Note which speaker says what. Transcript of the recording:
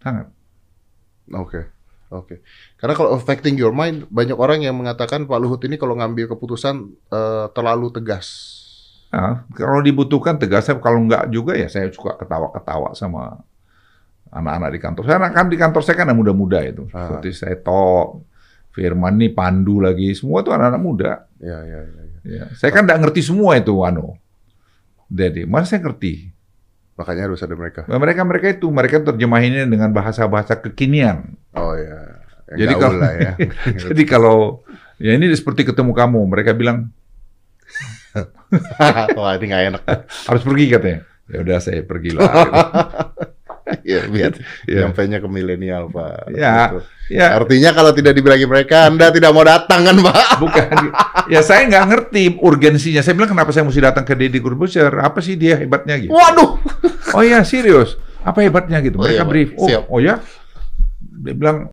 Speaker 1: Sangat.
Speaker 2: Oke. Oke. Karena kalau affecting your mind banyak orang yang mengatakan Pak Luhut ini kalau ngambil keputusan eh, terlalu tegas.
Speaker 1: Nah, kalau dibutuhkan tegas, saya kalau nggak juga ya saya suka ketawa-ketawa sama anak-anak di kantor. Saya kan di kantor saya kan ada muda-muda itu.
Speaker 2: Ah.
Speaker 1: Seperti Seto, Firman nih Pandu lagi, semua tuh anak-anak muda.
Speaker 2: Ya, ya, ya. ya.
Speaker 1: Ya. Saya kan nggak ngerti semua itu Wano. Jadi, mana saya ngerti?
Speaker 2: Makanya harus ada mereka.
Speaker 1: Mereka mereka itu mereka terjemahinnya dengan bahasa-bahasa kekinian.
Speaker 2: Oh ya. Yang
Speaker 1: Jadi
Speaker 2: gaul
Speaker 1: kalau-
Speaker 2: lah ya.
Speaker 1: Jadi kalau ya ini seperti ketemu kamu, mereka bilang
Speaker 2: Wah, ini nggak enak.
Speaker 1: harus pergi katanya. Ya udah saya pergilah.
Speaker 2: ya, biar
Speaker 1: Ya.
Speaker 2: nyampainya ke milenial, Pak.
Speaker 1: Ya.
Speaker 2: Gitu.
Speaker 1: ya,
Speaker 2: Artinya kalau tidak dibilangin mereka, Anda tidak mau datang kan, Pak?
Speaker 1: bukan. ya saya nggak ngerti urgensinya. Saya bilang kenapa saya mesti datang ke Deddy Corbuzier? Apa sih dia hebatnya gitu?
Speaker 2: Waduh.
Speaker 1: Oh ya serius, apa hebatnya gitu?
Speaker 2: Oh,
Speaker 1: Mereka
Speaker 2: iya, Pak.
Speaker 1: brief. Oh,
Speaker 2: Siap.
Speaker 1: oh ya, dia bilang